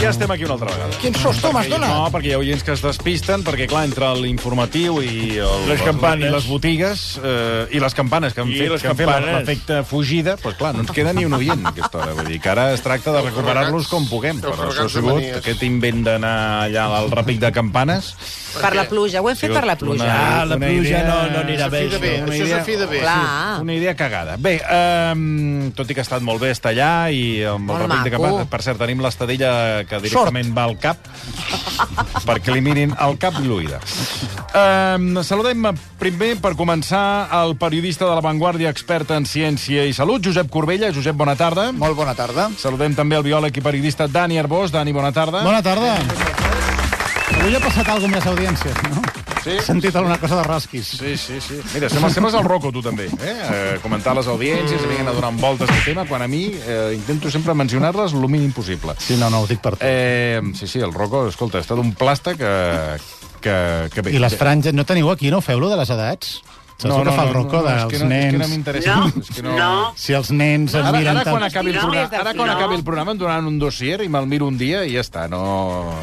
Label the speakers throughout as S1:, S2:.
S1: ja estem aquí una altra vegada.
S2: Quin sostó m'has donat?
S1: No, perquè hi ha oients que es despisten, perquè, clar, entre l'informatiu i... El,
S3: Les campanes.
S1: I les botigues, eh, i les campanes que han
S3: I
S1: fet,
S3: les
S1: que han fet la-
S3: campanes.
S1: l'efecte fugida, doncs, clar, no ens queda ni un oient, a aquesta hora. Vull dir que ara es tracta de recuperar-los com puguem.
S4: Els
S1: Però això ha
S4: regats de
S1: sigut
S4: manies.
S1: aquest invent d'anar allà al repic de campanes.
S5: Per la pluja, ho hem fet per la pluja.
S3: Ah, la
S1: Una
S3: pluja
S1: idea-
S3: no- no anirà bé,
S4: Fi de bé,
S3: això.
S1: Una
S4: això és
S1: idea-
S4: a fi de bé.
S5: Clar.
S1: Una idea cagada. Bé, um, tot i que ha estat molt bé estar allà i amb el
S5: Molt
S1: repic de
S5: maco.
S1: campanes... Per cert, tenim l'estadella que directament va al cap perquè li mirin el cap i l'oïda. Um, saludem primer, per començar, el periodista de La Vanguardia, expert en ciència i salut, Josep Corbella. Josep, bona tarda.
S2: Molt bona tarda.
S1: Saludem també el biòleg i periodista Dani Arbós. Dani, bona tarda.
S6: Bona tarda. Avui ha passat alguna més audiències, no? Sí. He sentit alguna cosa de rasquis.
S1: Sí, sí, sí. Mira, se m'assemes al roco, tu també. Eh? eh comentar les audiències, mm. vinguen a donar voltes al tema, quan a mi eh, intento sempre mencionar-les el mínim possible.
S6: Sí, no, no, ho dic per tu.
S1: Eh, sí, sí, el roco, escolta, ha estat un plàstic que, que, que bé.
S6: I les franges... No teniu aquí, no? Feu-lo de les edats? Saps no, el que fa el rocó
S1: és que
S6: dels
S1: no, És que no
S6: nens?
S1: m'interessa.
S7: No,
S1: és que
S7: no.
S6: Si els nens es
S1: Ara,
S6: miren
S1: ara, quan
S6: tant...
S1: acabi el
S5: No,
S1: programa,
S5: des de
S1: ara quan
S5: fi, no.
S1: acabi el programa em donaran un dossier i me'l miro un dia i ja està. No,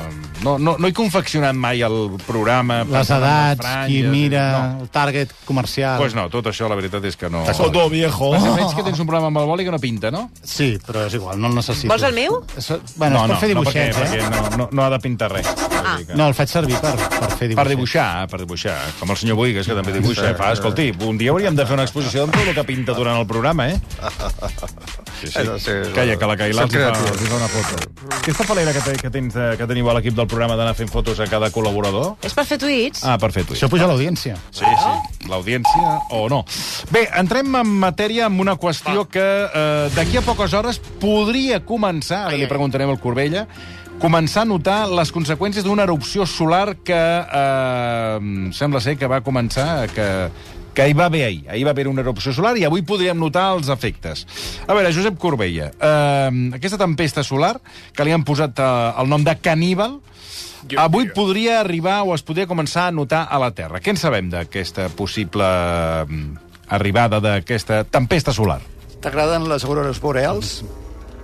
S1: no, no, no he confeccionat mai el programa.
S6: Les
S1: pensant en
S6: edats, qui
S1: franges, eh,
S6: mira,
S1: No.
S6: el target comercial...
S1: Pues no, tot això la veritat és que no...
S3: Todo viejo.
S1: Passa, veig que tens un problema amb el boli que no pinta, no?
S6: Sí, però és igual, no el necessito.
S5: Vols el meu?
S6: Això, bueno, Ah, no, es pot fer dibuixets,
S1: no,
S6: eh?
S1: perquè, perquè no, no, no ha de pintar res. Vull dir que-
S6: No, el faig servir per, per fer dibuixets.
S1: Per dibuixar, per dibuixar. Com el senyor Boigues, que també dibuixa. Eh? Fa, escolti, un dia hauríem de fer una exposició amb tot el que pinta durant el programa, eh? Sí, sí.
S4: Sí, sí.
S1: Calla, que la Cailà els
S4: Són
S1: hi fa,
S4: creatius.
S1: els hi fa una foto. Aquesta palera que, te, que, tens, de- que teniu a l'equip del programa d'anar fent fotos a cada col·laborador?
S5: És per fer tuits?
S1: Ah, perfecte.
S6: Això puja a l'audiència.
S1: Sí, sí. L'audiència o no. Bé, entrem en matèria amb una qüestió que eh, d'aquí a poques hores podria començar, ara li preguntarem al Corbella, començar a notar les conseqüències d'una erupció solar que eh, sembla ser que va començar, que, que hi va haver ahir. Ahir va haver una erupció solar i avui podríem notar els efectes. A veure, Josep Corbella, eh, aquesta tempesta solar, que li han posat eh, el nom de Caníbal, Avui podria arribar o es podria començar a notar a la Terra. Què en sabem d'aquesta possible mm, arribada d'aquesta tempesta solar?
S2: T'agraden les aurores boreals?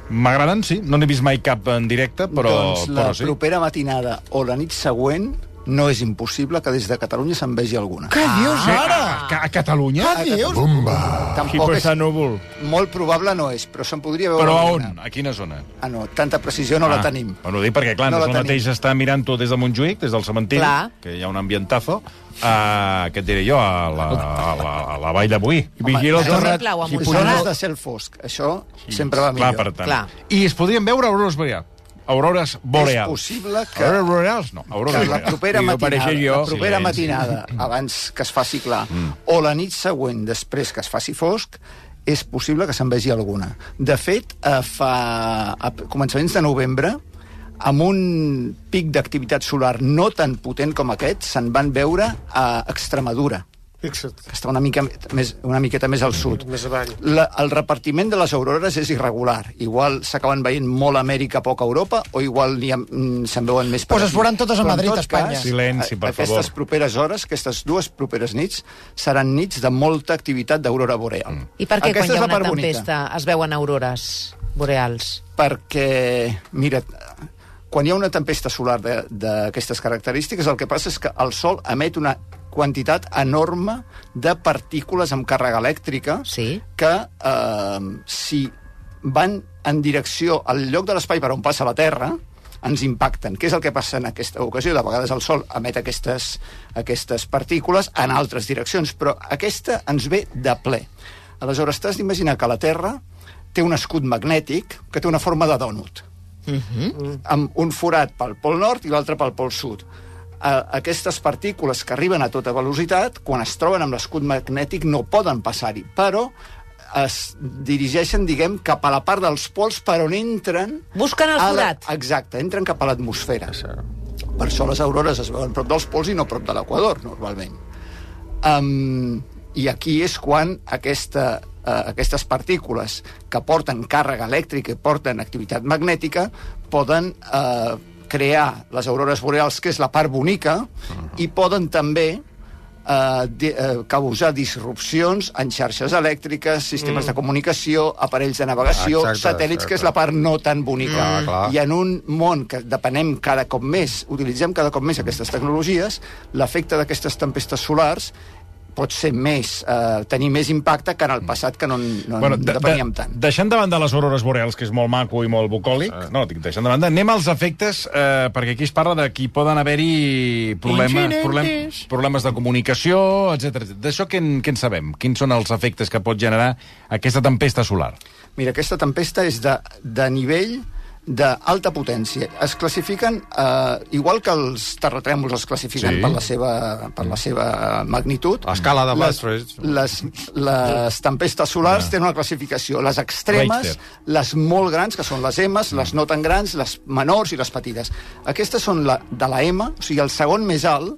S1: M'agraden, sí. No n'he vist mai cap en directe, però,
S2: doncs la
S1: però sí.
S2: propera matinada o la nit següent no és impossible que des de Catalunya se'n vegi alguna.
S6: Què dius,
S1: A, Ca- Ah, a Catalunya?
S2: Ah, dius? Bomba! Tampoc és...
S3: Pesa núvol.
S2: Molt probable no és, però se'n podria veure
S1: Però a
S2: alguna.
S1: on? Ah, A quina zona?
S2: Ah, no, tanta precisió no la tenim.
S1: Bueno, ho dic perquè, clar,
S2: No
S1: no
S2: la
S1: és el
S2: tenim.
S1: mateix estar mirant-ho des de Montjuïc, des del cementiri,
S5: Clar.
S1: que hi ha un ambientazo, a, què et diré jo, a la, a la, a la vall de Boí.
S3: Vigila el
S5: Per
S3: terrat.
S5: exemple, o amb
S2: I
S5: un solar.
S2: zones de cel fosc, això sempre va
S1: Clar,
S2: millor.
S1: per tant.
S5: Clar.
S1: I es podrien veure aurores boreals. Aurores boreals.
S2: possible que-
S1: Aurores boreals, no.
S2: que
S1: Aurores
S2: la
S1: boreals.
S2: propera
S3: Diu,
S2: matinada,
S3: apareixer jo.
S2: la propera
S1: Silenci. Mm.
S2: matinada abans que es faci clar, o la nit següent, després que es faci fosc, és possible que se'n vegi alguna. De fet, eh, fa a començaments de novembre, amb un pic d'activitat solar no tan potent com aquest, se'n van veure a Extremadura,
S7: Fixa't.
S2: que està una, mica més, una miqueta més al sud.
S7: Més avall.
S2: La, el repartiment de les aurores és irregular. Igual s'acaben veient molt a Amèrica, poc a Europa, o igual n'hi ha- mm, se'n veuen més... per
S8: Pues es
S2: aquí.
S8: veuran totes a
S2: Però en
S8: Madrid,
S2: tot
S8: Espanya.
S2: cas,
S1: Silenci, per
S2: aquestes
S1: favor.
S2: properes hores, aquestes dues properes nits, seran nits de molta activitat d'aurora boreal. Mm.
S5: I per què
S2: Aquesta
S5: quan hi
S2: és
S5: ha
S2: la
S5: una
S2: part bonica.
S5: tempesta es veuen aurores boreals?
S2: Perquè, mira, quan hi ha una tempesta solar de- d'aquestes característiques, el que passa és que el Sol emet una quantitat enorme de partícules amb càrrega elèctrica
S5: Sí.
S2: que, eh, si van en direcció al lloc de l'espai per on passa la Terra, ens impacten. Què és el que passa en aquesta ocasió? De vegades el Sol emet aquestes, aquestes partícules en altres direccions, però aquesta ens ve de ple. Aleshores, t'has d'imaginar que la Terra té un escut magnètic que té una forma de dònut amb un forat pel pol nord i l'altre pel pol sud. A- Aquestes partícules que arriben a tota velocitat, quan es troben amb l'escut magnètic, no poden passar-hi, però es dirigeixen, diguem, cap a la part dels pols per on entren...
S5: Busquen el
S2: a la-
S5: forat.
S2: Exacte, entren cap a l'atmosfera. Per això les aurores es veuen prop dels pols i no prop de l'equador, normalment. Um, I aquí és quan aquesta, uh, aquestes partícules que porten càrrega elèctrica i porten activitat magnètica poden eh, uh, crear les aurores boreals, que és la part bonica, uh -huh. i poden també eh, de, eh, causar disrupcions en xarxes elèctriques, sistemes mm. de comunicació, aparells de navegació,
S3: Exacte,
S2: satèl·lits, que és la part no tan bonica.
S3: Clar, clar.
S2: I en un món que depenem cada cop més, utilitzem cada cop més aquestes tecnologies, l'efecte d'aquestes tempestes solars pot ser més, eh, tenir més impacte que en el passat, que no, en- no bueno,
S1: de-
S2: depeníem
S1: de-
S2: tant.
S1: Deixant de banda les aurores boreals, que és molt maco i molt bucòlic, no, dic, deixant de banda, anem als efectes, eh, perquè aquí es parla de que hi poden haver-hi problema, problem, problemes de comunicació, etc. D'això què, en- què en sabem? Quins són els efectes que pot generar aquesta tempesta solar?
S2: Mira, aquesta tempesta és de, de nivell d'alta potència. Es classifiquen, eh, igual que els terratrèmols es classifiquen
S3: Sí.
S2: sí. per, la seva, per la seva magnitud,
S3: L'escala de
S2: les,
S3: Maastricht.
S2: les, les tempestes solars tenen una classificació. Les extremes,
S1: Richter.
S2: les molt grans, que són les M, les no tan grans, les menors i les petites. Aquestes són la, de la M, o sigui, el segon més alt,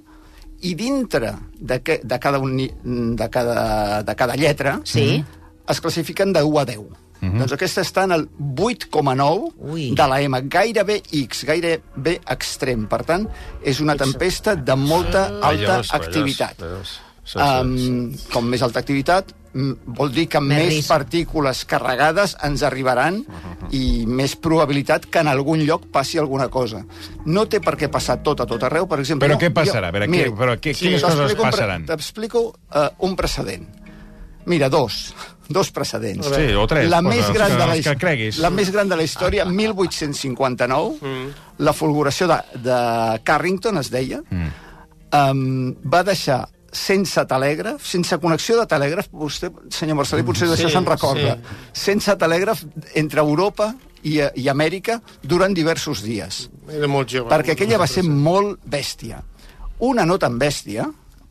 S2: i dintre de, que, de, cada, un, ni- de, cada, de cada lletra
S5: Sí.
S2: es classifiquen de 1 a 10.
S3: Mhm.
S2: Doncs aquesta està en el 8,9
S5: Ui.
S2: de la M, gairebé X, gairebé extrem. Per tant, és una tempesta de molta
S3: Ah,
S2: alta
S3: Vellós, vellós,
S2: activitat.
S3: vellós. Sí, sí,
S2: Um, com més alta activitat, mm, vol dir que
S5: Més
S2: més,
S5: risc.
S2: partícules carregades ens arribaran i més probabilitat que en algun lloc passi alguna cosa. No té per què passar tot a tot arreu, per exemple...
S1: Però
S2: no,
S1: què passarà? A veure, què- però què- quines coses
S2: t'explico un pre-
S1: passaran?
S2: T'explico uh, un precedent. Mira, dos. Dos precedents.
S1: Sí, o tres,
S2: La
S1: posa,
S2: més
S1: els
S2: gran
S1: que-
S2: de la,
S1: els que
S2: his-
S1: creguis.
S2: la més gran de la història, 1859, la fulguració de, de Carrington, es deia, mm. um, va deixar sense telègraf, sense connexió de telègraf, vostè, senyor Marcelí, potser d'això
S4: Sí,
S2: se'n recorda, sí. sense telègraf entre Europa i, eh, i Amèrica durant diversos dies
S4: Era molt jove.
S2: perquè aquella va ser molt bèstia. Una no tan bèstia,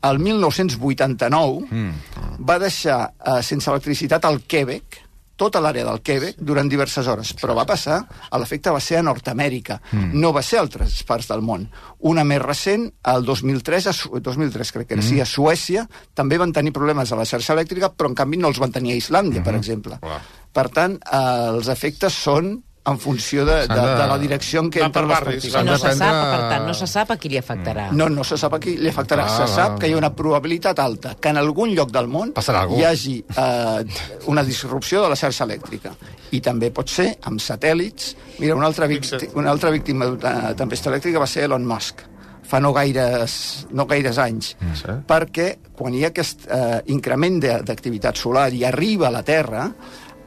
S2: el 1989, mm. va deixar eh, sense electricitat el Quebec, tota l'àrea del Quebec, durant diverses hores. Però va passar, a l'efecte va ser a Nord-Amèrica, mm. no va ser a altres parts del món. Una més recent, el 2003, a Su- 2003 crec que era, mm. sí, a Suècia, també van tenir problemes a la xarxa elèctrica, però en canvi no els van tenir a Islàndia, mm. per exemple.
S3: Clar.
S2: Per tant, eh, els efectes són en funció de, de, de la direcció en què
S4: Va per
S2: entren les
S4: barris,
S2: partícules.
S5: I no se
S3: dependre-
S5: sap, per tant, no se sap a qui li afectarà.
S2: No, no se sap a qui li afectarà.
S3: Ah,
S2: se sap
S3: va.
S2: que hi ha una probabilitat alta que en algun lloc del món
S3: Passarà algú.
S2: hi hagi eh, una disrupció de la xarxa elèctrica. I també pot ser amb satèl·lits. Mira, una altra, víctima,
S4: Fixa't.
S2: una altra víctima de tempesta elèctrica va ser Elon Musk fa no gaires, no gaires anys,
S3: Sí.
S2: perquè quan hi ha aquest eh, increment de- d'activitat solar i arriba a la Terra,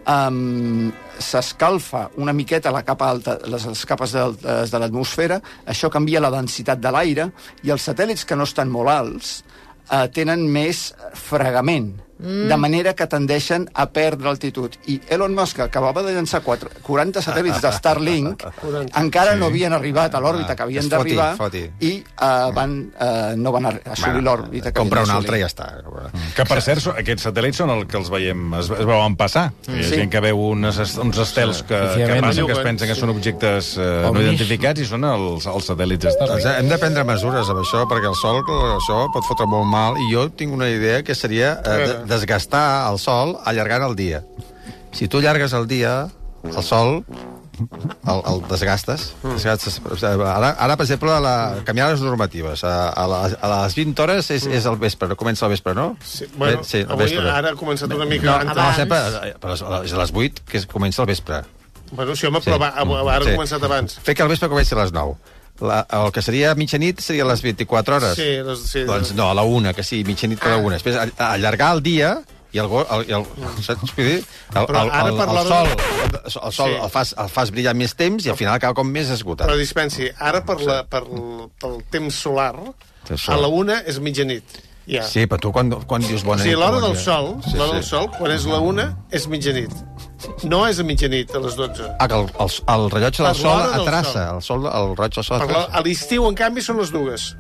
S2: um, s'escalfa una miqueta la capa alta, les, les capes de, de l'atmosfera, això canvia la densitat de l'aire, i els satèl·lits que no estan molt alts eh, tenen més fregament, mm. de manera que tendeixen a perdre altitud. I Elon Musk, que acabava de llançar quatre, 40 satèl·lits de Starlink,
S4: 40.
S2: encara no havien arribat a l'òrbita que
S3: Ah, Es
S2: havien
S3: foti,
S2: d'arribar,
S3: foti.
S2: i eh, van, eh, no van arri- assolir l'òrbita. que
S3: Compra
S2: havien
S3: un
S2: d'assolir.
S3: altre i ja està.
S1: Que, per cert, so- aquests satèl·lits són els que els veiem, es, es veuen passar. Hi ha
S2: Sí.
S1: gent que veu unes, est- uns estels que, que
S7: Efectivament.
S1: passen, que es
S4: Lluguen,
S1: pensen que
S4: sí.
S1: són objectes eh, no
S7: Ovnis.
S1: identificats i són els, els satèl·lits estels.
S3: Doncs hem de prendre mesures amb això, perquè el sol això pot fotre molt mal, i jo tinc una idea que seria eh, de- desgastar el sol allargant el dia. Si tu allargues el dia, el sol el, el desgastes.
S4: Mm.
S3: desgastes. Ara, ara, per exemple, la, canviar les normatives. A, a, les, a les 20 hores és, és el vespre, comença el vespre, no?
S4: Sí, bueno,
S3: Bé, sí, el
S4: avui
S3: vespre.
S4: ara ha començat una mica... No,
S3: No,
S5: abans.
S3: sempre, eh, però és és a les 8 que es comença el vespre.
S4: Bueno, sí, home, però va, avui- ara
S3: Sí.
S4: ha començat abans.
S3: Fer que el vespre comenci a les 9. La, el que seria mitjanit seria les 24 hores.
S4: Sí, les, Ah. sí,
S3: Doncs no, a la una, que sí, mitjanit a la una. Després, a- a allargar el dia i el, go- el, el, saps què vull dir? El, el,
S4: Mm. Però
S3: el,
S4: ara
S3: el,
S4: parlava-
S3: sol, el sol
S4: Sí.
S3: el, fas, el fas brillar més temps i al final acaba com més esgotat.
S4: Però dispensi, ara per la, per, pel temps solar,
S3: Temps
S4: a
S3: solar.
S4: la una és mitjanit. Ja.
S3: Sí, però tu quan, quan dius
S4: O
S3: bona
S4: sigui,
S3: nit...
S4: l'hora
S3: bona
S4: del
S3: nit.
S4: sol, l'hora del sol, quan és la una, és mitjanit. No és a mitjanit, a les 12.
S3: Ah, que el, el, el rellotge del
S4: Per
S3: sol
S4: l'hora del
S3: atrassa. El, sol, el rellotge del sol
S4: Per la,
S3: atrassa.
S4: a l'estiu, en canvi, són les dues.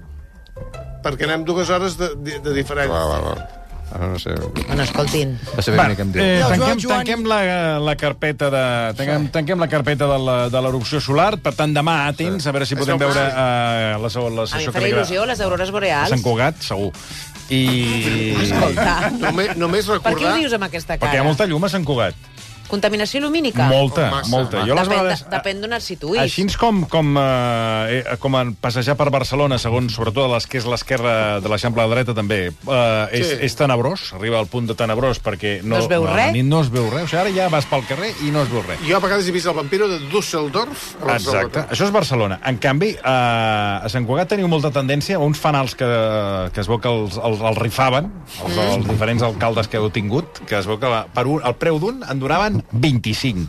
S4: Perquè anem dues hores de, de, de
S3: Va,
S4: diferència.
S3: va, va. Ara no sé...
S5: Bueno, escoltin,
S3: Va saber bueno, què em diu.
S1: Eh,
S7: Joan,
S1: tanquem,
S7: Joan.
S1: tanquem la, la carpeta de, tanquem, tanquem la carpeta de la- de l'erupció solar, per tant demà atents, a veure si podem
S4: veu
S1: veure
S4: clar.
S1: eh, la, sessió la
S5: a mi
S1: sessió
S5: em
S1: que
S5: farà
S1: arribarà
S5: il·lusió les aurores
S1: a
S5: boreals.
S1: Sant Cugat, segur. I...
S5: Escolta,
S4: Només, només
S5: per què
S4: recordar...
S5: ho dius amb aquesta cara?
S1: Perquè hi ha molta llum a Sant Cugat.
S5: Contaminació lumínica?
S1: Molta,
S4: Massa.
S1: molta. Jo les
S5: depèn,
S1: vegades...
S5: de, depèn d'on et situïs.
S1: Així com, com, eh, eh, com en passejar per Barcelona, segons sobretot les que és l'esquerra de l'Eixample a la dreta, també, eh, és,
S4: Sí.
S1: sí. és tenebrós, arriba al punt de tenebrós, perquè
S5: No es veu
S1: no,
S5: res.
S1: Ni, no es veu res. O sigui, ara ja vas pel carrer i no es veu res.
S4: Jo a vegades he vist el vampiro de Düsseldorf a Barcelona.
S1: Exacte. Això és Barcelona. En canvi, eh, a Sant Cugat teniu molta tendència a uns fanals que, que es veu que els, els, els rifaven,
S5: Mm.
S1: els, els diferents alcaldes que heu tingut, que es veu que la, per un, el preu d'un en donaven 25.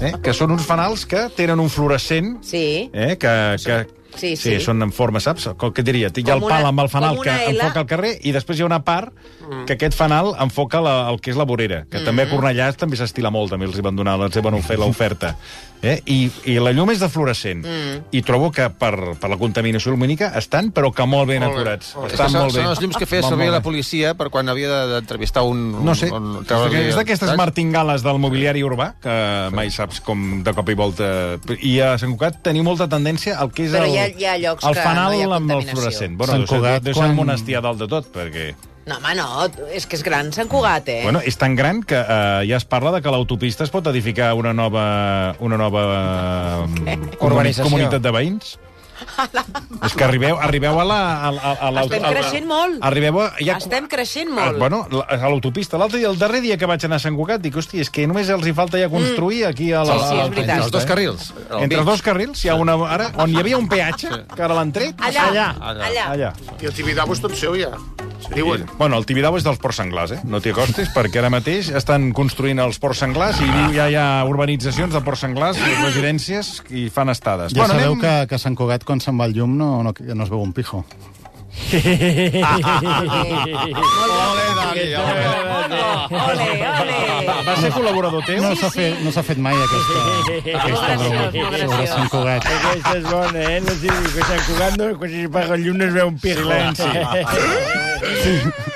S1: Eh? Que són uns fanals que tenen un fluorescent
S5: Sí.
S1: eh? que... que
S5: Sí,
S1: sí,
S5: sí.
S1: són en forma, saps? Com que diria? Hi ha el
S5: Com
S1: pal
S5: una-
S1: amb el fanal
S5: com
S1: que
S5: una L. Mm.
S1: enfoca el carrer i després hi ha una part que aquest fanal enfoca la, el que és la vorera, que també a Cornellà també s'estila molt, també els hi van donar, els hi van fer l'oferta. Eh? I, I la llum és de fluorescent.
S5: Mm.
S1: I trobo que per, per la contaminació lumínica estan, però que molt ben
S4: Molt bé,
S1: acurats.
S4: molt bé.
S1: Estan
S7: són,
S1: molt bé.
S7: són els llums que feia
S1: Van
S7: servir
S1: molt
S7: la
S1: bé.
S7: policia per quan havia de- d'entrevistar un... un-
S1: No sé,
S7: un- treure-li-
S1: és d'aquestes
S7: saps?
S1: martingales del mobiliari urbà, que mai saps com de cop i volta... I a Sant Cugat teniu molta tendència al que és
S5: Però
S1: el,
S5: hi ha- hi ha llocs
S1: el
S5: que
S1: fanal
S5: no hi ha
S1: amb el
S5: contaminació. Eh?
S1: fluorescent.
S6: Sant
S1: Bueno, Sant
S6: Cugat,
S1: Cugat, deu ser
S6: quan-
S1: un monestir a dalt de tot, perquè...
S5: No, home, no, és que és gran Sant Cugat, eh?
S1: Bueno, és tan gran que eh, ja es parla de que l'autopista es pot edificar una nova, una nova eh, comuni-
S7: Urbanització.
S1: comunitat de veïns. És que arribeu, arribeu a la... A, a, a l'auto-
S5: Estem
S1: a la-
S5: creixent molt.
S1: Arribeu a... hi ha-
S5: Estem creixent
S1: Ah,
S5: molt.
S1: Bueno, la- a l'autopista. L'altre dia, el darrer dia que vaig anar a Sant Cugat, dic, hòstia, és que només els hi falta ja construir aquí a la...
S5: Mm. Sí,
S1: a
S5: sí, és
S3: Ah, doncs,
S1: l'autopista,
S5: veritat.
S7: Els dos
S1: eh?
S7: carrils. el
S1: Entre els
S7: mig.
S1: dos carrils hi ha una... Ara, on hi havia un peatge, que ara l'han tret...
S5: Allà, allà,
S7: allà.
S5: allà. allà.
S1: Allà.
S4: I el Tibidabo és tot seu, ja. Sí. Diuen.
S1: Bueno, el Tibidabo és dels ports senglars, eh? No t'hi acostis, perquè ara mateix estan construint els ports senglars i diu, ja hi ha urbanitzacions de ports senglars, i residències, i fan estades.
S6: Ja bueno, sabeu anem... que, que a Sant Cugat, quan se'n va el llum, no, no, no es veu un pijo.
S3: Ole, Dani, ole.
S5: Ole, ole.
S1: Va, va ser col·laborador teu?
S6: No s'ha fet, no s'ha fet mai aquesta, aquesta
S5: Molt
S6: broma
S5: graciós, molt
S6: sobre
S5: graciós.
S6: Sant Cugat.
S8: Aquesta és bona, eh? No sé, que s'han jugando, que si paga el llum no es veu un pijo.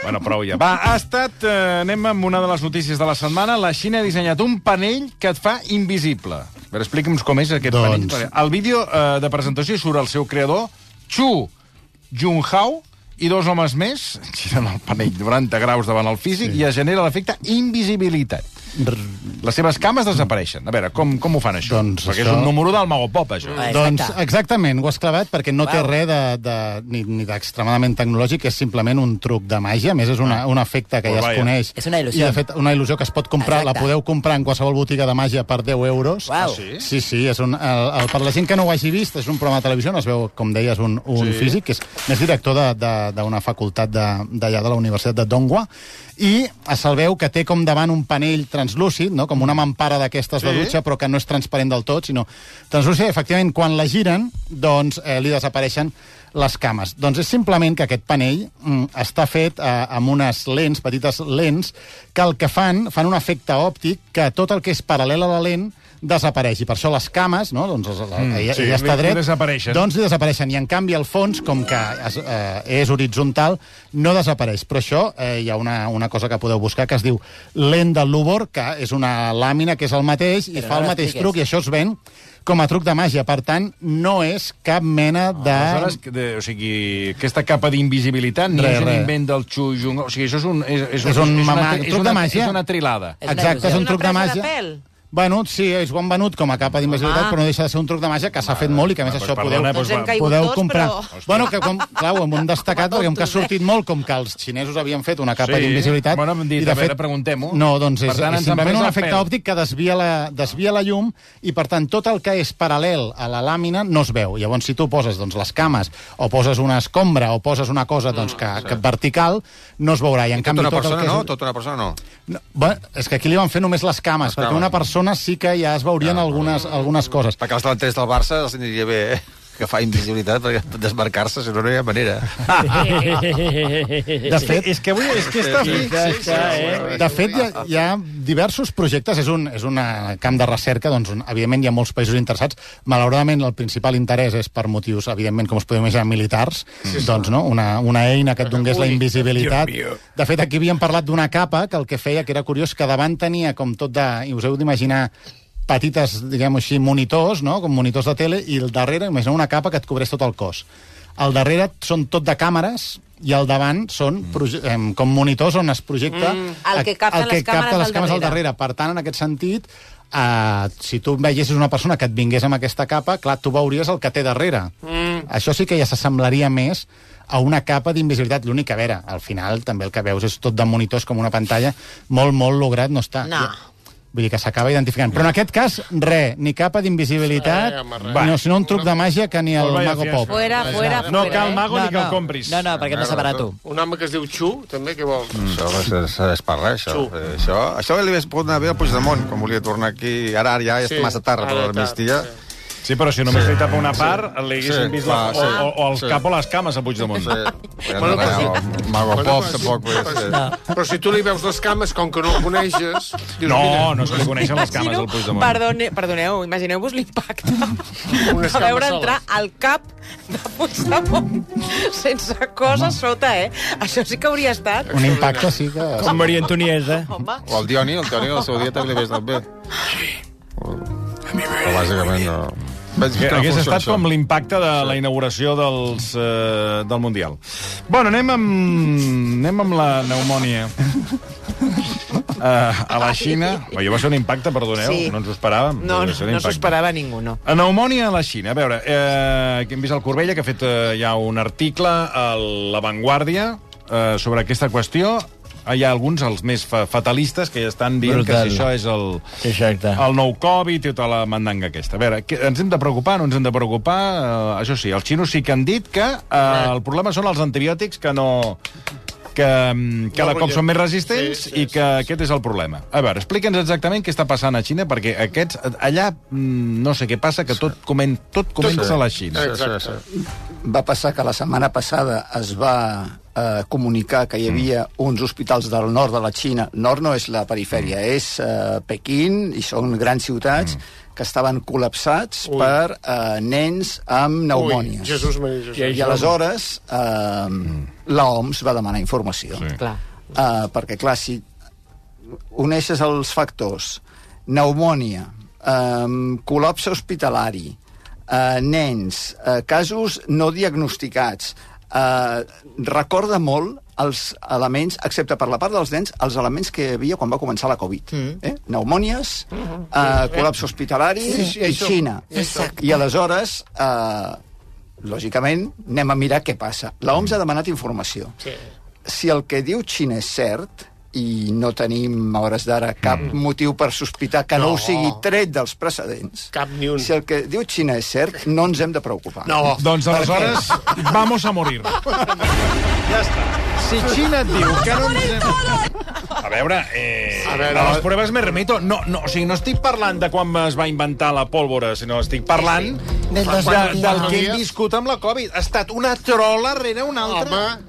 S1: Bueno, prou ja. Va, ha estat... Eh, anem amb una de les notícies de la setmana. La Xina ha dissenyat un panell que et fa invisible. A veure, explica'ns com és aquest
S6: Doncs-
S1: panell. El vídeo eh, de presentació hi surt el seu creador, Chu Junhao, i dos homes més giren el panell 90 graus davant el físic sí. i es genera l'efecte invisibilitat. Les seves cames desapareixen. A veure, com, com ho fan, això?
S6: Doncs
S1: Perquè
S6: això-
S1: és un número del Mago Pop, això.
S5: Ah,
S6: Doncs
S5: exacte.
S6: exactament, ho has clavat perquè no té
S5: Uau.
S6: res de, de, ni, ni d'extremadament tecnològic, és simplement un truc de màgia, a més és una, un efecte que
S1: Ah. Pues
S6: ja es
S1: vaya.
S6: coneix.
S5: És una il·lusió.
S6: I de fet, una il·lusió que es pot comprar,
S5: Exacte.
S6: la podeu comprar en qualsevol botiga de màgia per 10 euros.
S5: Uau. Ah,
S1: sí?
S6: Sí, sí, és un, el, el, per la gent que no ho hagi vist, és un programa de televisió on es veu, com deies, un, un sí. físic, que és més director de- de- d'una facultat de- d'allà de, de la Universitat de Donghua, i se'l veu que té com davant un panell translúcid, no? com una mampara d'aquestes sí. de dutxa, però que no és transparent del tot, sinó translúcid, efectivament, quan la giren, doncs eh, li desapareixen les cames. Doncs és simplement que aquest panell mm, està fet eh, amb unes lents, petites lents, que el que fan, fan un efecte òptic que tot el que és paral·lel a la lent desapareix. I per això les cames, no? doncs la, la, mm,
S1: sí,
S6: ja està
S1: li- li
S6: dret,
S1: desapareixen.
S6: doncs li desapareixen. I en canvi el fons, com que es, eh, és horitzontal, no desapareix. Però això eh, hi ha una, una cosa que podeu buscar que es diu lent del Lubor, que és una làmina que és el mateix i
S5: Però
S6: fa
S5: no
S6: el mateix
S5: l'expliques.
S6: truc i això es ven com a truc de màgia. Per tant, no és cap mena de...
S1: Aleshores, que de, o sigui, aquesta capa d'invisibilitat no
S6: Re,
S1: és un
S6: re.
S1: invent del Chu Jung... O sigui, això és un... És,
S6: És un mama-
S1: tri-
S6: truc de màgia.
S1: És una trilada.
S5: És una
S6: Exacte, és
S5: il·lusió.
S6: un truc de
S5: Una presa de
S6: màgia.
S5: pèl. Ah.
S6: Bueno, sí, és bon venut com a capa d'invisibilitat,
S5: Home.
S6: però no deixa de ser un truc de màgia que s'ha fet molt i que, a més,
S1: doncs
S6: això podeu...
S1: perdona,
S5: Doncs
S1: Doncs
S5: hem
S1: va,
S5: caigut
S6: podeu
S5: tots,
S6: comprar.
S5: però...
S6: Bueno, que com, clar, ho hem destacat, perquè com que ha
S5: tontos, eh?
S6: sortit molt, com que els xinesos havien fet una capa
S1: Sí.
S6: d'invisibilitat...
S1: Bueno, hem dit,
S6: i
S1: a
S6: de
S1: veure, preguntem-ho.
S6: No, doncs
S1: Per
S6: és,
S1: tant, ens
S6: és simplement
S1: han
S6: un
S1: pres el
S6: efecte
S1: pèl.
S6: òptic que desvia la, desvia la llum i, per tant, tot el que és paral·lel a la làmina no es veu. Llavors, si tu poses doncs, les cames o poses una escombra o poses una cosa doncs, que,
S1: Ah,
S6: que vertical, no es veurà. I, en
S3: Tota
S6: canvi,
S3: una
S6: tot el
S3: persona
S6: que és...
S3: no, tota una persona no.
S6: No, bé, és que aquí li van fer només les cames, perquè
S3: cames.
S6: una persona sí que ja es veurien
S1: Ah.
S6: algunes, algunes coses.
S3: Perquè els delanters del Barça els aniria bé, eh? que fa invisibilitat perquè desmarcar-se, si no, no hi ha manera.
S6: De fet,
S1: És que avui... És que està fi...
S8: Ja està, eh?
S6: De fet, hi ha, hi ha diversos projectes. És un, és un eh, camp de recerca, doncs, on, evidentment, hi ha molts països interessats. Malauradament, el principal interès és per motius, evidentment, com es podeu imaginar, militars. Doncs, no? Una, una eina que et donés la invisibilitat. De fet, aquí havíem parlat d'una capa que el que feia, que era curiós, que davant tenia com tot de... I us heu d'imaginar petites, diguem-ho així, monitors, no? com monitors de tele, i al darrere, imagina una capa que et cobreix tot el cos. Al darrere són tot de càmeres i al davant són proje- em, com monitors on es projecta mm.
S5: El que capten
S6: el que
S5: les càmeres
S6: capta les
S5: al
S6: càmeres al
S5: darrere.
S6: darrere. Per tant, en aquest sentit, Uh, si tu veiessis una persona que et vingués amb aquesta capa, clar, tu veuries el que té darrere. Mm. Això sí que ja s'assemblaria més a una capa d'invisibilitat. L'únic, a veure, al final també el que veus és tot de monitors com una pantalla. Molt, molt lograt no està.
S5: No.
S6: Vull dir que s'acaba identificant. Però en aquest cas, res, ni capa d'invisibilitat,
S4: Eh, home, res.
S6: no, sinó un truc de màgia que ni el
S1: Vaya
S6: Mago
S1: fiasco.
S6: Pop.
S5: Fuera, fuera,
S1: No
S5: fuera,
S1: cal
S5: eh?
S1: mago ni que el
S9: no.
S1: compris. Eh?
S9: No, no, perquè hem de separar tu.
S4: Un home que es diu Xu, també, què vol?
S3: Això va ser- ser- és parlar, això.
S4: Xup.
S3: Eh, això, això li hagués pogut anar bé a Puigdemont, quan volia tornar aquí. Ara, ara ja és
S4: Sí,
S3: massa tard per
S4: ara
S3: l'amnistia.
S4: tard,
S1: Sí, però si només sí. li tapa una part, sí. li haguessin
S3: Sí,
S1: sí, vist
S3: clar,
S1: la, o,
S3: sí.
S1: o, o el
S3: Sí.
S1: sí. cap o les cames a Puigdemont.
S3: Sí.
S1: Sí.
S3: Bueno,
S4: però sí.
S3: o Mago Pop,
S4: però sí.
S3: tampoc.
S4: Però
S3: Pues,
S4: sí.
S3: eh,
S4: Però si tu li veus les cames, com que no el coneixes... Dius,
S1: No,
S4: mira,
S1: no se li coneixen les cames
S5: Imagino-
S1: al Puigdemont.
S5: Perdone, perdoneu, imagineu-vos l'impacte
S4: Unes
S5: de veure
S4: cames
S5: entrar
S4: soles.
S5: al cap de Puigdemont sense cosa a sota, eh? Això sí que hauria estat...
S6: Un impacte sí que...
S8: Com Maria Antonieta.
S5: Home,
S3: O el Dioni, el Dioni al seu dia també li hagués anat bé. Però bàsicament no... Veig
S1: Que hagués
S3: funciona
S1: estat
S3: això.
S1: com l'impacte de la inauguració dels, eh, del Mundial. Bueno, anem amb, anem amb la pneumònia. Uh, a la Xina... Oye, va ser un impacte, perdoneu,
S5: Sí.
S1: no ens ho esperàvem.
S5: no,
S1: Va
S5: no,
S1: ser un
S5: no s'ho
S1: impacte.
S5: esperava ningú, no.
S1: A pneumònia a la Xina. A veure, eh, hem vist el Corbella, que ha fet eh, ja un article a La Vanguardia eh, sobre aquesta qüestió. Ah, Hi ha alguns, els més fa fatalistes, que ja estan dient
S9: Brutal.
S1: que si això és el,
S9: Exacte.
S1: el nou Covid i tota la mandanga aquesta. A veure, que, ens hem de preocupar, no ens hem de preocupar? Eh, això sí, els xinos sí que han dit que eh, el problema són els antibiòtics que no que mm, cada
S4: No
S1: cop
S4: vull-
S1: són més resistents sí,
S4: Sí, sí,
S1: sí, i que aquest és el problema. A veure, explica'ns exactament què està passant a Xina, perquè aquests, allà mm, no sé què passa, que tot, comen, tot comença a la Xina.
S4: Sí, sí, sí.
S2: va passar que la setmana passada es va eh, comunicar que hi havia uns hospitals del nord de la Xina. Nord no és la perifèria, és eh, Pequín, i són grans ciutats que estaven col·lapsats
S4: Ui.
S2: per eh, nens amb
S4: Ui,
S2: pneumònia.
S4: Jesús Maria, Jesús.
S2: I aleshores eh, l'OMS va demanar informació. Sí.
S5: Clar.
S2: Uh, perquè, clar, si uneixes els factors, pneumònia, um, col·lapse hospitalari, uh, nens, uh, casos no diagnosticats, uh, recorda molt els elements, excepte per la part dels nens, els elements que hi havia quan va començar la Covid. Mm. Eh? Pneumònies, mm -hmm. uh, col·lapse hospitalari sí,
S4: sí,
S2: i
S4: això.
S2: Xina.
S5: Exacte.
S2: I aleshores... Uh, lògicament, anem a mirar què passa. La OMS ha demanat informació si el que diu Xina és cert, i no tenim, a hores d'ara, cap mm. motiu per sospitar que no.
S4: No.
S2: no ho sigui tret dels precedents,
S4: Cap ni un.
S2: si el que diu Xina és cert, no ens hem de preocupar.
S4: No,
S1: Doncs aleshores, vamos a morir. Ja està. Si Xina et diu que no... ens- A veure, eh, a,
S4: A
S1: veure,
S4: veure,
S1: les proves me remito. No, no, o sigui, no estic parlant de quan es va inventar la pólvora, sinó estic parlant de, del que hem viscut amb la Covid. Ha estat una trola rere una altra.
S4: home,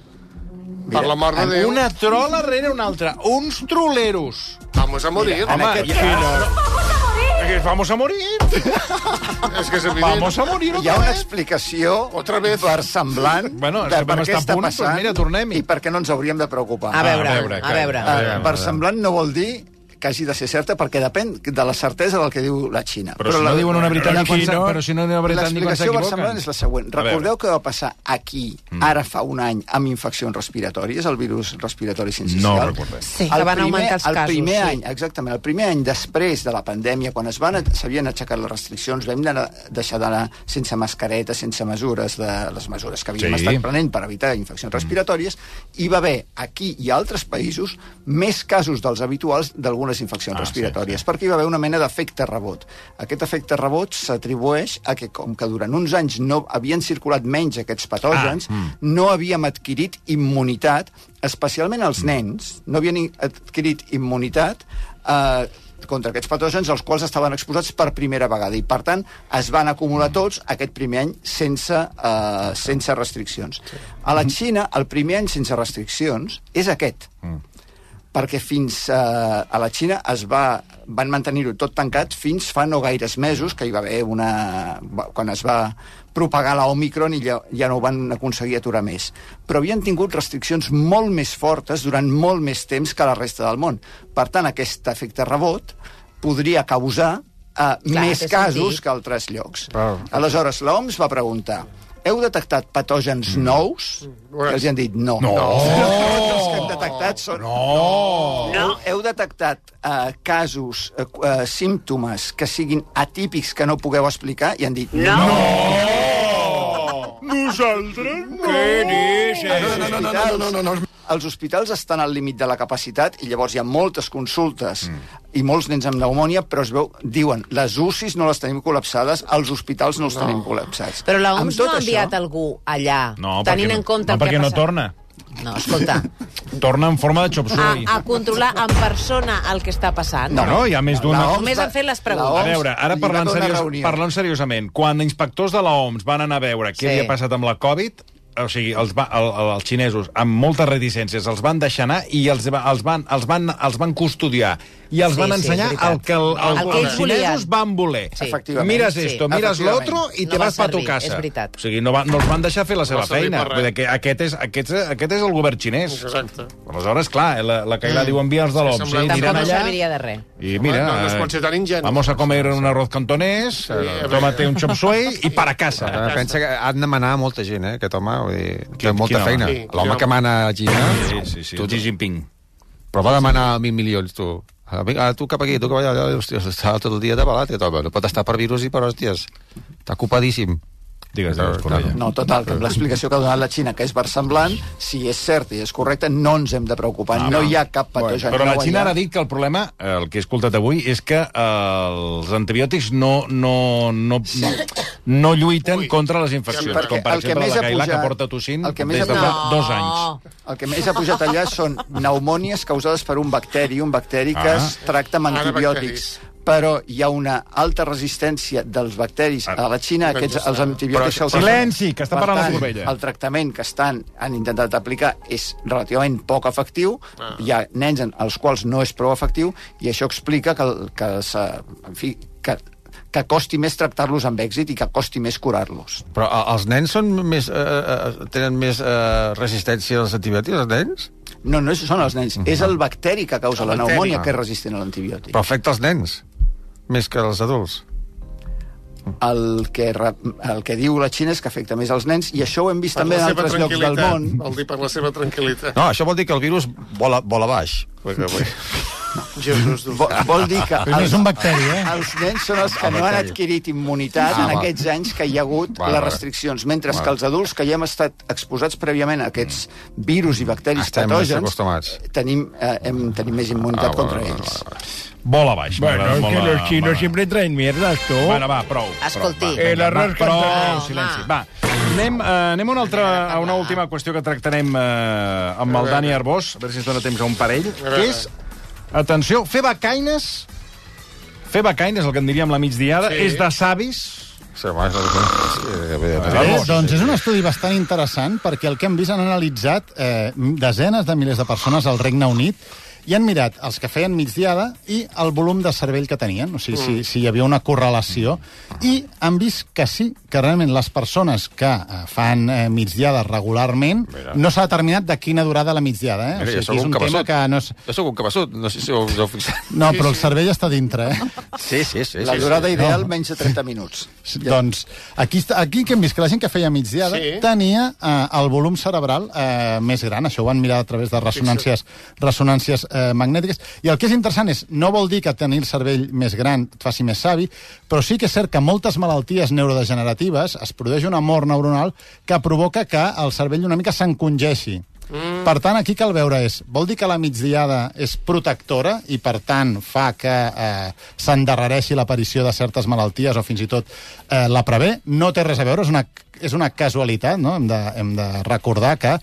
S4: per la mort de Déu,
S1: Una trola rere una altra. Uns troleros.
S4: vamos a morir.
S1: Home,
S4: Home,
S1: ja, no. Vamos a morir.
S4: és que és evident.
S1: Vamos a morir
S2: Hi ha
S1: otra
S2: una
S1: vez.
S2: explicació
S4: Otra vez.
S2: versemblant
S1: Bueno,
S2: de
S1: sabem
S2: per què
S1: estar a
S2: està
S1: punt, doncs
S2: passant
S1: mira, tornem-hi.
S2: i per què no ens hauríem de preocupar.
S5: A veure,
S1: Ah, a
S5: a
S1: veure,
S5: veure, a
S1: calla.
S5: veure.
S1: A veure.
S2: Eh, versemblant no vol dir que hagi de ser certa, perquè depèn de la certesa del que diu la Xina.
S1: Però, si no diuen una veritat ni quan s'equivoquen. Però si no diuen una veritat ni quan
S2: L'explicació
S1: s'equivoquen.
S2: versemblant és la següent.
S1: A veure. Mm.
S2: Recordeu que va passar aquí, ara fa un any, amb infeccions respiratòries, el virus respiratori
S1: No
S2: sincicial?
S1: recordem.
S5: Sí, que van augmentar els
S2: el
S5: casos,
S2: Primer
S5: sí.
S2: any, exactament, el primer any després de la pandèmia, quan es van s'havien aixecat les restriccions, vam d'anar- deixar d'anar sense mascareta, sense mesures, de les mesures que havíem
S1: Sí. Mm.
S2: sí. estat prenent per evitar infeccions respiratòries, hi va haver aquí i a altres països més casos dels habituals d'algunes infeccions
S1: Ah, sí,
S2: respiratòries històries, perquè hi va haver una mena d'efecte rebot. Aquest efecte rebot s'atribueix a que, com que durant uns anys no havien circulat menys aquests patògens, ah, mm. no havíem adquirit immunitat, especialment
S1: Mm.
S2: els nens, no havien i- adquirit immunitat eh, contra aquests patògens, els quals estaven exposats per primera vegada, i per tant es van
S1: Mm.
S2: acumular tots aquest primer any sense, eh, sense restriccions. A
S1: Mm-hmm.
S2: la Xina, el primer any sense restriccions és aquest perquè fins eh, a la Xina es va, van mantenir-ho tot tancat fins fa no gaires mesos, que hi va haver una... va- quan es va propagar la Omicron i ja, ja no ho van aconseguir aturar més. Però havien tingut restriccions molt més fortes durant molt més temps que la resta del món. Per tant, aquest efecte rebot podria causar eh,
S5: Clar,
S2: més
S5: té
S2: casos
S5: sentit.
S3: Ah.
S2: que altres llocs. Aleshores, l'OMS va preguntar heu detectat patògens
S3: Mm.
S2: nous? Que els hi han dit no. No! Els que hem detectat són... No! no. Heu detectat eh, casos, eh, qu- eh, símptomes que siguin atípics que no pugueu explicar i han dit no.
S3: No, no, no, no, no, no, no, no.
S2: Els hospitals estan al límit de la capacitat i llavors hi ha moltes consultes mm. i molts nens amb pneumònia, però es veu, diuen, les UCIs no les tenim col·lapsades, els hospitals no els tenim col·lapsats.
S5: Però la
S2: Amb
S5: OMS
S2: tot
S5: no ha enviat
S2: això,
S5: algú allà,
S1: No,
S5: tenint
S1: perquè,
S5: en compte
S1: no,
S5: el que
S1: perquè
S5: ha
S1: no
S5: passat.
S1: torna.
S5: No, escolta,
S1: Torna en forma de xop
S5: a,
S1: suey.
S5: a controlar en persona el que està passant.
S1: No, no, hi ha més d'una...
S2: La
S5: Només
S2: va-
S5: han fet les
S2: la
S5: preguntes.
S1: A
S2: OMS
S1: veure, ara
S2: li va
S1: parlant,
S2: donar
S1: seriós,
S2: reunió.
S1: parlant seriosament, quan inspectors de la OMS van anar a veure què
S5: Sí.
S1: sí. havia passat amb la Covid, o sigui, els, va, el, el, els xinesos, amb moltes reticències, els van deixar anar i els, va- els, van, els, van, els van custodiar i els
S5: Sí,
S1: sí, van
S5: sí,
S1: ensenyar
S5: és
S1: sí,
S5: veritat.
S1: el que, el, el, el
S5: El que
S1: que
S5: ells
S1: els xinesos
S5: volien.
S1: van voler.
S5: Sí.
S2: Efectivament.
S1: Miras
S5: Sí.
S1: esto, miras
S2: Efectivament.
S1: l'altro i
S5: No
S1: te
S5: va
S1: vas per tu
S5: servir,
S1: casa.
S5: és veritat.
S1: O sigui, no, va, no els van deixar fer la seva
S4: va servir
S1: feina.
S4: per res.
S1: Vull dir que aquest és, aquest, és, aquest és el govern xinès.
S4: Exacte.
S1: Aleshores, clar, eh, la, la Caila mm. diu envia els de l'OMS. i
S4: sembla-
S5: Tampoc
S1: aniran
S5: no
S1: allà...
S5: serviria de res.
S1: Y mira,
S4: no, no es pot ser tan ingenu.
S1: vamos a comer un arroz cantonés, eh, tómate un chop suey i para
S3: Ara
S1: casa.
S3: pensa que han de manar molta gent, eh, aquest home. Vull dir, té
S1: Qui-
S3: molta
S1: quin home?
S3: feina.
S4: Sí, quin
S3: L'home que
S4: home?
S3: mana a Xina...
S1: Sí, sí, sí.
S3: Tu,
S1: Xi Jinping.
S3: però va demanar mil milions, tu. Ah, vinga, tu cap aquí, tu cap allà, allà, hòsties, està tot el dia de balat, aquest home. No pot estar per virus i per hòsties. Està ocupadíssim.
S1: Digues,
S3: No,
S1: digues, Cornellà.
S2: No, total, que amb l'explicació que ha donat la Xina, que és versemblant, si és certa i és correcta, no ens hem de preocupar.
S1: Ah,
S2: no
S1: va.
S2: hi ha cap patogen.
S1: Però la
S2: nou
S1: Xina
S2: allà.
S1: ara ha dit que el problema, eh, el que he escoltat avui, és que eh, els antibiòtics no, no, no, no, no lluiten contra les infeccions,
S2: perquè
S1: com per
S2: el que
S1: exemple
S2: més
S1: la
S2: ha
S1: Cailà, que
S2: pujat-
S1: porta tossint
S2: el que més
S1: des de
S2: ha
S1: fa
S2: pujat-
S1: dos anys.
S2: El que més ha pujat allà són pneumònies causades per un bacteri, un bacteri que
S1: Ah.
S2: es tracta amb
S4: Ara
S2: antibiòtics. Però hi ha una alta resistència dels bacteris
S1: Ah.
S2: a la Xina, aquests, els antibiòtics... que
S1: Doncs Silenci, que està
S2: Per
S1: parlant la
S2: tant,
S1: Corbella.
S2: El tractament que estan han intentat aplicar és relativament poc efectiu,
S1: Ah.
S2: hi ha nens en els quals no és prou efectiu, i això explica que, el- que, se, en fi, que, que costi més tractar-los amb èxit i que costi més curar-los.
S3: Però eh, els nens són més, eh, eh, tenen més eh, resistència als antibiòtics, els nens?
S2: No, no és- són els
S1: Mhm.
S2: nens, és el bacteri que causa la
S4: bacteri.
S2: pneumònia
S1: Ah.
S2: que és resistent a l'antibiòtic.
S3: Però afecta els nens, més que els adults.
S2: El que, re- el que diu la Xina és que afecta més als nens, i això ho hem vist
S4: Per
S2: també
S4: la
S2: en
S4: seva
S2: altres llocs del
S4: tranquil·litat.
S2: món.
S4: Vol dir per la seva tranquil·litat.
S3: No, això vol dir que el virus vola, vola baix.
S4: Jesús,
S2: Vol, vol dir que...
S6: Primer és un bacteri, eh?
S2: Els nens són els que no han adquirit immunitat
S3: Ah,
S2: en
S3: va.
S2: aquests anys que hi ha hagut
S3: Vale,
S2: les
S3: vale.
S2: restriccions, mentre
S3: Vale.
S2: que els adults que ja hem estat exposats prèviament a aquests virus i bacteris
S3: Estem més
S2: patògens
S3: acostumats.
S2: tenim, eh, hem, tenim més immunitat
S3: Ah,
S2: contra
S3: vale, vale,
S2: ells.
S1: Bola baix.
S8: Bueno,
S1: m'agrada
S8: es
S1: molt
S8: que
S1: la-
S8: los chinos
S1: m'agrada.
S8: siempre traen mierdas, tú.
S1: Bueno, va, prou.
S5: Escolti.
S1: prou, va,
S8: El arròs
S1: va,
S8: cantonés.
S1: prou, silenci. Va, Eh, anem, eh, anem a una, altra, a una última qüestió que tractarem eh, amb el Dani Arbós, a veure si ens dona temps a un parell, que és, atenció, fer becaines, fer becaines, el que en diríem la migdiada, sí. és de savis,
S3: Sí, home, és el que...
S6: Eh, doncs és un estudi bastant interessant perquè el que hem vist han analitzat eh, desenes de milers de persones al Regne Unit i han mirat els que feien migdiada i el volum de cervell que tenien, o sigui, si, si hi havia una correlació, i han vist que sí, que realment les persones que eh, fan eh, migdiada regularment
S3: Mira.
S6: no s'ha determinat de quina durada la migdiada, eh?
S3: Mira,
S6: o
S3: jo
S6: sigui, aquí és
S3: sóc un
S6: un tema
S3: cabeçut.
S6: que no... És...
S3: Jo sóc un cabeçut, no sé si us heu fixat.
S6: No, però el cervell està dintre, eh?
S3: Sí, sí, sí.
S2: La
S3: sí,
S2: durada
S3: sí.
S2: ideal, menys de 30 minuts.
S6: Sí, Doncs aquí, està- aquí que hem vist que la gent que feia migdiada sí.
S4: Sí.
S6: tenia eh, el volum cerebral eh, més gran, això ho van mirar a través de resonàncies, resonàncies eh, magnètiques, i el que és interessant és, no vol dir que tenir el cervell més gran et faci més savi, però sí que és cert que moltes malalties neurodegeneratives es produeix una mort neuronal que provoca que el cervell una mica s'encongeixi. Mm. Per tant, aquí cal veure és, vol dir que la migdiada és protectora i, per tant, fa que eh, s'endarrereixi l'aparició de certes malalties o fins i tot eh, la prevé? No té res a veure, és una, és una casualitat, no? Hem de, hem de recordar que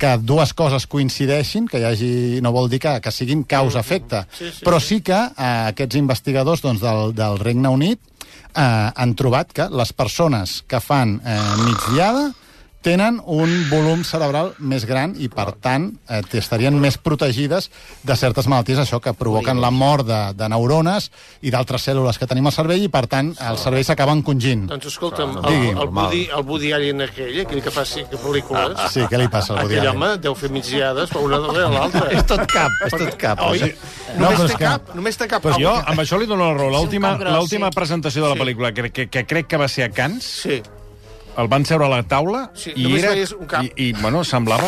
S6: que dues coses coincideixin, que hi hagi, no vol dir que, que siguin causa-efecte. Mm, Sí, sí, Però sí que eh, aquests investigadors doncs, del, del Regne Unit eh, han trobat que les persones que fan eh, migdiada tenen un volum cerebral més gran i, per tant, eh, estarien més protegides de certes malalties, això que provoquen la mort de, de neurones i d'altres cèl·lules que tenim al cervell i, per tant, el cervell s'acaba encongint.
S4: Doncs escolta'm, el,
S6: Digui.
S4: el, Woody, el Woody Allen aquell, aquell que fa cinc pel·lícules,
S6: Sí, què li passa al Woody
S4: aquell
S6: Allen?
S4: home deu fer migdiades, però una darrere l'altra. És tot cap, és tot cap.
S2: eh?
S4: Oi?
S6: No,
S4: Només
S6: però és
S4: té
S6: que-
S4: cap, només té cap.
S1: Pues jo,
S4: Ah,
S1: amb això li dono la raó. L'última
S5: cap gros,
S1: l'última
S5: sí.
S1: presentació de la pel·lícula, que, que, que crec que va ser a Cannes,
S4: Sí.
S1: eh, el van seure a la taula
S4: Sí,
S1: i,
S4: només
S1: era,
S4: veies un cap.
S1: i, i bueno, semblava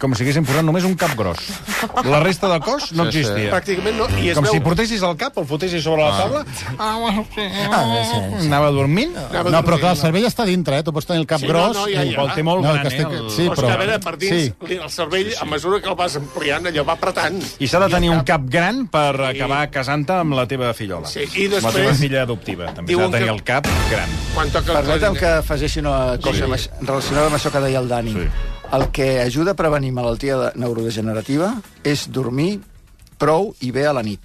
S1: com si haguessin posat només un cap gros. La resta de cos no
S3: Sí, sí.
S1: existia.
S4: Pràcticament no. I es
S1: Com
S4: veu...
S1: si portessis el cap, el fotessis sobre la taula,
S4: eh?
S6: Ah, sí, sí.
S1: anava dormint.
S4: Anava
S6: No,
S4: a
S6: però
S4: dormir,
S6: clar, el
S4: va.
S6: cervell està dintre, eh? Tu pots tenir el cap
S4: Sí, no,
S6: gros...
S4: no, ja,
S6: i-
S4: ja.
S1: El té molt
S6: No,
S1: gran,
S6: que estic-
S1: eh? El...
S6: sí,
S4: Però és
S6: però-
S4: que a veure, per dins,
S6: Sí.
S4: li- el cervell, a mesura que el vas ampliant, allò va apretant.
S1: I s'ha de tenir un cap gran per acabar casant-te amb la teva fillola.
S4: Sí, i
S1: Amb La teva
S4: després-
S1: filla adoptiva. També s'ha
S4: Diuen
S1: de tenir
S4: que-
S1: el cap gran.
S4: Quan toca el
S2: Permetem
S4: clarinet.
S2: que afegeixi una cosa sí. relacionada amb això que deia el Dani.
S1: Sí.
S2: Sí. El que ajuda a prevenir malaltia de- neurodegenerativa és dormir prou i bé a la nit.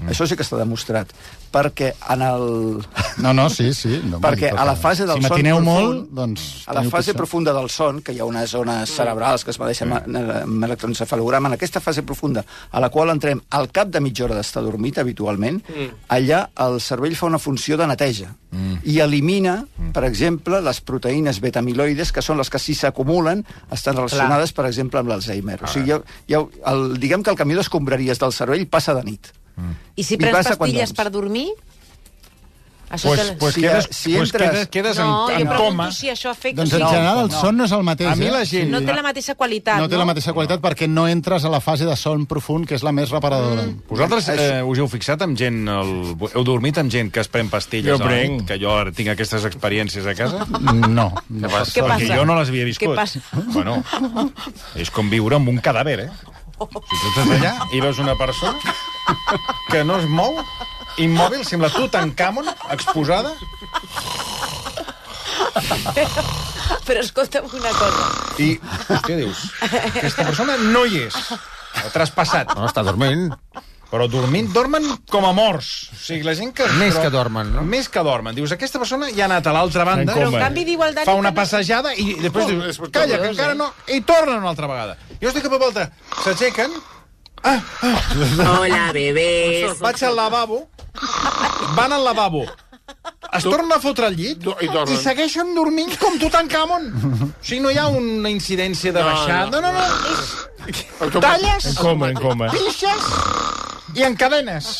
S2: Mm. Això sí que està demostrat. Perquè en el...
S6: No, no, sí, sí. No,
S2: Perquè a la fase del
S6: si
S2: son
S6: matineu
S2: profund-
S6: molt, doncs...
S2: A la
S6: teniu
S2: fase
S6: pitjor.
S2: profunda del son, que hi ha unes zones cerebrals que es medeixen mm. amb electroencefalograma, en aquesta fase profunda, a la qual entrem al cap de mitja hora d'estar dormit, habitualment, mm. allà el cervell fa una funció de neteja mm. i elimina, mm. per exemple, les proteïnes betamiloides, que són les que, si s'acumulen, estan relacionades, Clar. per exemple, amb l'Alzheimer. O
S6: Ah.
S2: sigui, hi ha, hi ha el, diguem que el camió d'escombraries del cervell passa de nit.
S5: I si
S2: I
S5: prens
S2: passa quan
S5: pastilles
S2: dorms.
S5: per dormir... Això
S1: Pues,
S5: te-
S1: pues
S2: Si-
S1: quedes,
S2: si
S1: pues
S2: entres-
S1: quedes, quedes
S5: no,
S1: en,
S5: jo
S1: en
S5: pregunto
S1: coma.
S5: si això afecta...
S6: Doncs en
S5: no,
S6: general el son no és el mateix,
S1: A mi
S6: eh?
S1: la gent-
S5: no té la mateixa qualitat, no?
S6: no té la mateixa qualitat perquè no entres a la fase de son profund, que és la més reparadora.
S2: Mm.
S1: Vosaltres eh, us heu fixat amb gent... El... Heu dormit amb gent que es pren pastilles?
S8: Jo
S1: a la nit,
S8: prenc.
S1: Que jo ara tinc aquestes experiències a casa?
S6: No. no.
S5: Què passa?
S1: Perquè jo no les havia viscut.
S5: Què passa?
S1: Bueno, és com viure amb un cadàver, eh? Si tu estàs allà i veus una persona que no es mou, immòbil, sembla tu tancàmon, exposada...
S5: Però escolta'm una cosa.
S1: I, què dius? Aquesta persona no hi és. Ha traspassat.
S3: No, està dormint.
S1: Però dormint, dormen com a morts. O sigui, la gent que...
S3: Més
S1: però-
S3: que dormen, no?
S1: Més que dormen. Dius, aquesta persona ja ha anat a l'altra banda.
S8: En Però, en coma.
S5: canvi, diu el Dani
S1: Fa
S5: que
S1: una
S5: no-
S1: passejada i després
S4: Oh,
S1: dius,
S4: és brutal,
S1: calla, que
S4: eh?
S1: encara no... I tornen una altra vegada. Jo estic cap a volta. S'aixequen,
S9: Hola, bebés.
S1: vaig al lavabo, van al lavabo, es tornen a fotre al llit
S4: Do- i dormen.
S1: i segueixen dormint com Tutankamon. O sigui, no hi ha una incidència de baixada. No, no, no.
S4: Automàtic.
S1: Talles,
S8: En coma, en coma.
S1: pixes i encadenes.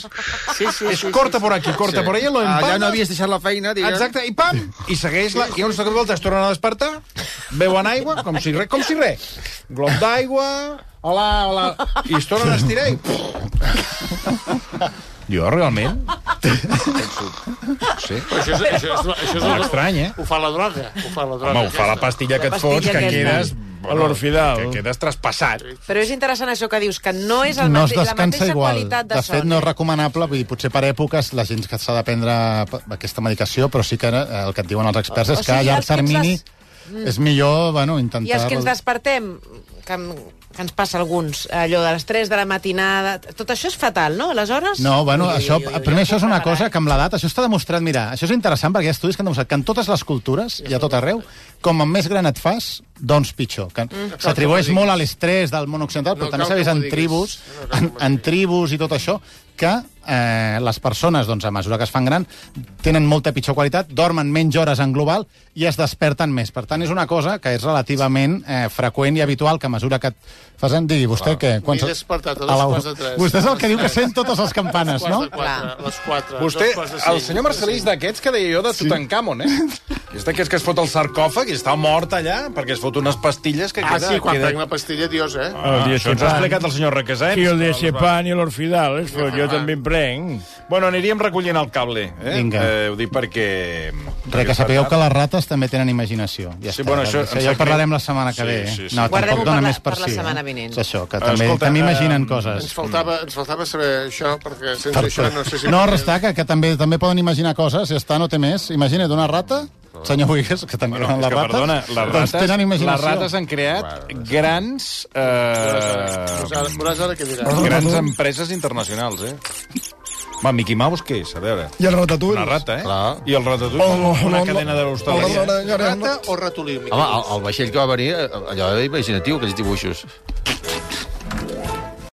S9: Sí, sí,
S1: És corta por aquí, corta por allá, lo empanas...
S3: Allà no havies deixat la feina, diguem.
S1: Exacte, i pam! I segueix la... I un segon volta es tornen a despertar, beuen aigua, com si res, com si res. Glob d'aigua, hola, hola... I es tornen a estirar i... Jo, realment... Sí.
S4: Però Això, és, això, és, això és,
S1: És estrany, eh?
S4: Ho fa la droga. Ho fa la droga.
S1: Home, ho fa la
S4: aquesta.
S1: pastilla que et
S5: pastilla
S1: fots, que
S5: aquesta.
S1: quedes...
S8: A l'orfidal.
S1: Que quedes traspassat.
S5: Però és interessant això que dius, que no és el
S6: No es
S5: mate la
S6: descansa
S5: mateixa
S6: igual.
S5: qualitat de,
S6: De fet,
S5: son.
S6: no és recomanable, vull dir, potser per èpoques la gent que s'ha de prendre p- aquesta medicació, però sí que eh, el que et diuen els experts
S5: O
S6: és que a
S5: sigui,
S6: llarg
S5: els que ens
S6: termini
S5: les- Mm.
S6: és millor, bueno, intentar...
S5: I els que ens despertem, que, que ens passa a alguns, allò de les 3 de la matinada, tot això és fatal, no? Aleshores...
S6: No, bueno,
S5: Ui, ui,
S6: això,
S5: ui, ui, ja
S6: primer això és
S5: puc
S6: una
S5: preparar.
S6: cosa que amb l'edat, això està demostrat, mira, això és interessant perquè hi ha estudis que han demostrat que en totes les cultures i a tot arreu, com amb més gran et fas, doncs pitjor.
S4: Mm.
S6: Que S'atribueix molt a l'estrès del món occidental,
S4: No
S6: però també
S4: cal
S6: s'ha
S4: que
S6: vist en
S4: m'ho diguis.
S6: tribus,
S4: No cal que
S6: en,
S4: m'ho
S6: en tribus i tot això, que eh, les persones, doncs, a mesura que es fan gran, tenen molta pitjor qualitat, dormen menys hores en global i es desperten més. Per tant, és una cosa que és relativament eh, freqüent i habitual que a mesura que et fas en... Digui, vostè, que...
S4: M'he despertat a les quarts de tres.
S6: Vostè és el que
S4: Les
S6: diu que
S4: tres.
S6: sent totes les campanes,
S4: Les
S6: no?
S4: quarts de quatre, Les 4.
S1: Vostè, el senyor Marcelí és d'aquests que deia jo de Tutankamon, eh? És d'aquests que es fot al sarcòfag i està mort allà perquè es fot unes pastilles que
S4: Ah,
S1: queda...
S4: sí, quan
S1: queda...
S4: prenc la pastilla, Dios, eh?
S1: Ah, això ens ha
S8: Diazepam.
S1: explicat el senyor Requesens.
S8: I el de Cepan i l'Orfidal, és, però jo també en prenc.
S1: Bueno, aniríem recollint el cable, eh?
S6: Vinga.
S1: Eh, ho dic perquè...
S6: Res, que sapigueu que les rates també tenen imaginació. Ja
S1: Sí,
S6: està,
S1: bueno,
S6: res,
S1: això-
S6: això ja
S1: em
S6: ho
S1: sap
S6: parlarem
S1: greu.
S6: la setmana que
S1: Sí,
S6: ve. eh?
S1: sí, sí.
S6: No,
S5: Guardem-ho
S6: tampoc
S5: per
S6: dona
S5: la-
S6: més per,
S5: per la
S6: si, eh?
S5: setmana vinent.
S6: És això, que també,
S1: Escolta,
S6: també imaginen
S1: eh,
S6: coses.
S4: Ens faltava, ens faltava saber això, perquè sense això no sé si...
S6: No, restaca, que també també poden imaginar coses. Si està, no té més. Imagina't una rata, senyor Buigues, que també
S1: Bueno, és
S6: bueno, les
S1: que,
S6: rates,
S1: perdona, les rates,
S6: doncs tenen
S1: les
S6: imaginació.
S1: rates han creat grans,
S4: Veuràs
S1: eh,
S4: ara- Veuràs ara què diràs.
S1: grans empreses internacionals, eh? Va, Mickey Mouse què és? A veure...
S10: I el ratatouille.
S6: Doncs-
S1: Una rata, eh?
S3: Clar.
S1: I el ratatouille,
S10: Oh, no,
S1: una
S10: no,
S1: cadena de l'hostaleria.
S10: Perdona,
S4: Rata o ratolí,
S3: Home,
S4: Miquel?
S3: el, el vaixell que va venir, eh, allò era imaginatiu, aquells dibuixos.